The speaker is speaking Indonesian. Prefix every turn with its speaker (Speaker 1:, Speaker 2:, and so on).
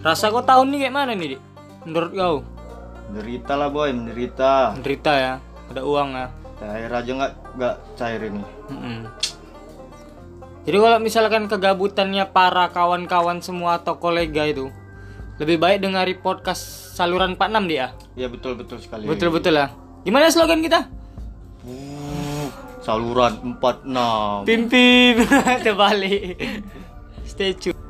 Speaker 1: Rasa kau tahun ini kayak mana nih, Dik? Menurut kau?
Speaker 2: Menderita lah boy, menderita.
Speaker 1: Menderita ya, ada uang ya.
Speaker 2: Cair aja nggak nggak cair ini.
Speaker 1: Mm-mm. Jadi kalau misalkan kegabutannya para kawan-kawan semua atau kolega itu lebih baik dengari podcast saluran 46 dia.
Speaker 2: Iya betul betul
Speaker 1: ya?
Speaker 2: sekali.
Speaker 1: Betul-betul lah. Gimana slogan kita?
Speaker 2: Uh, saluran 46.
Speaker 1: Pimpin terbalik. Stay tune.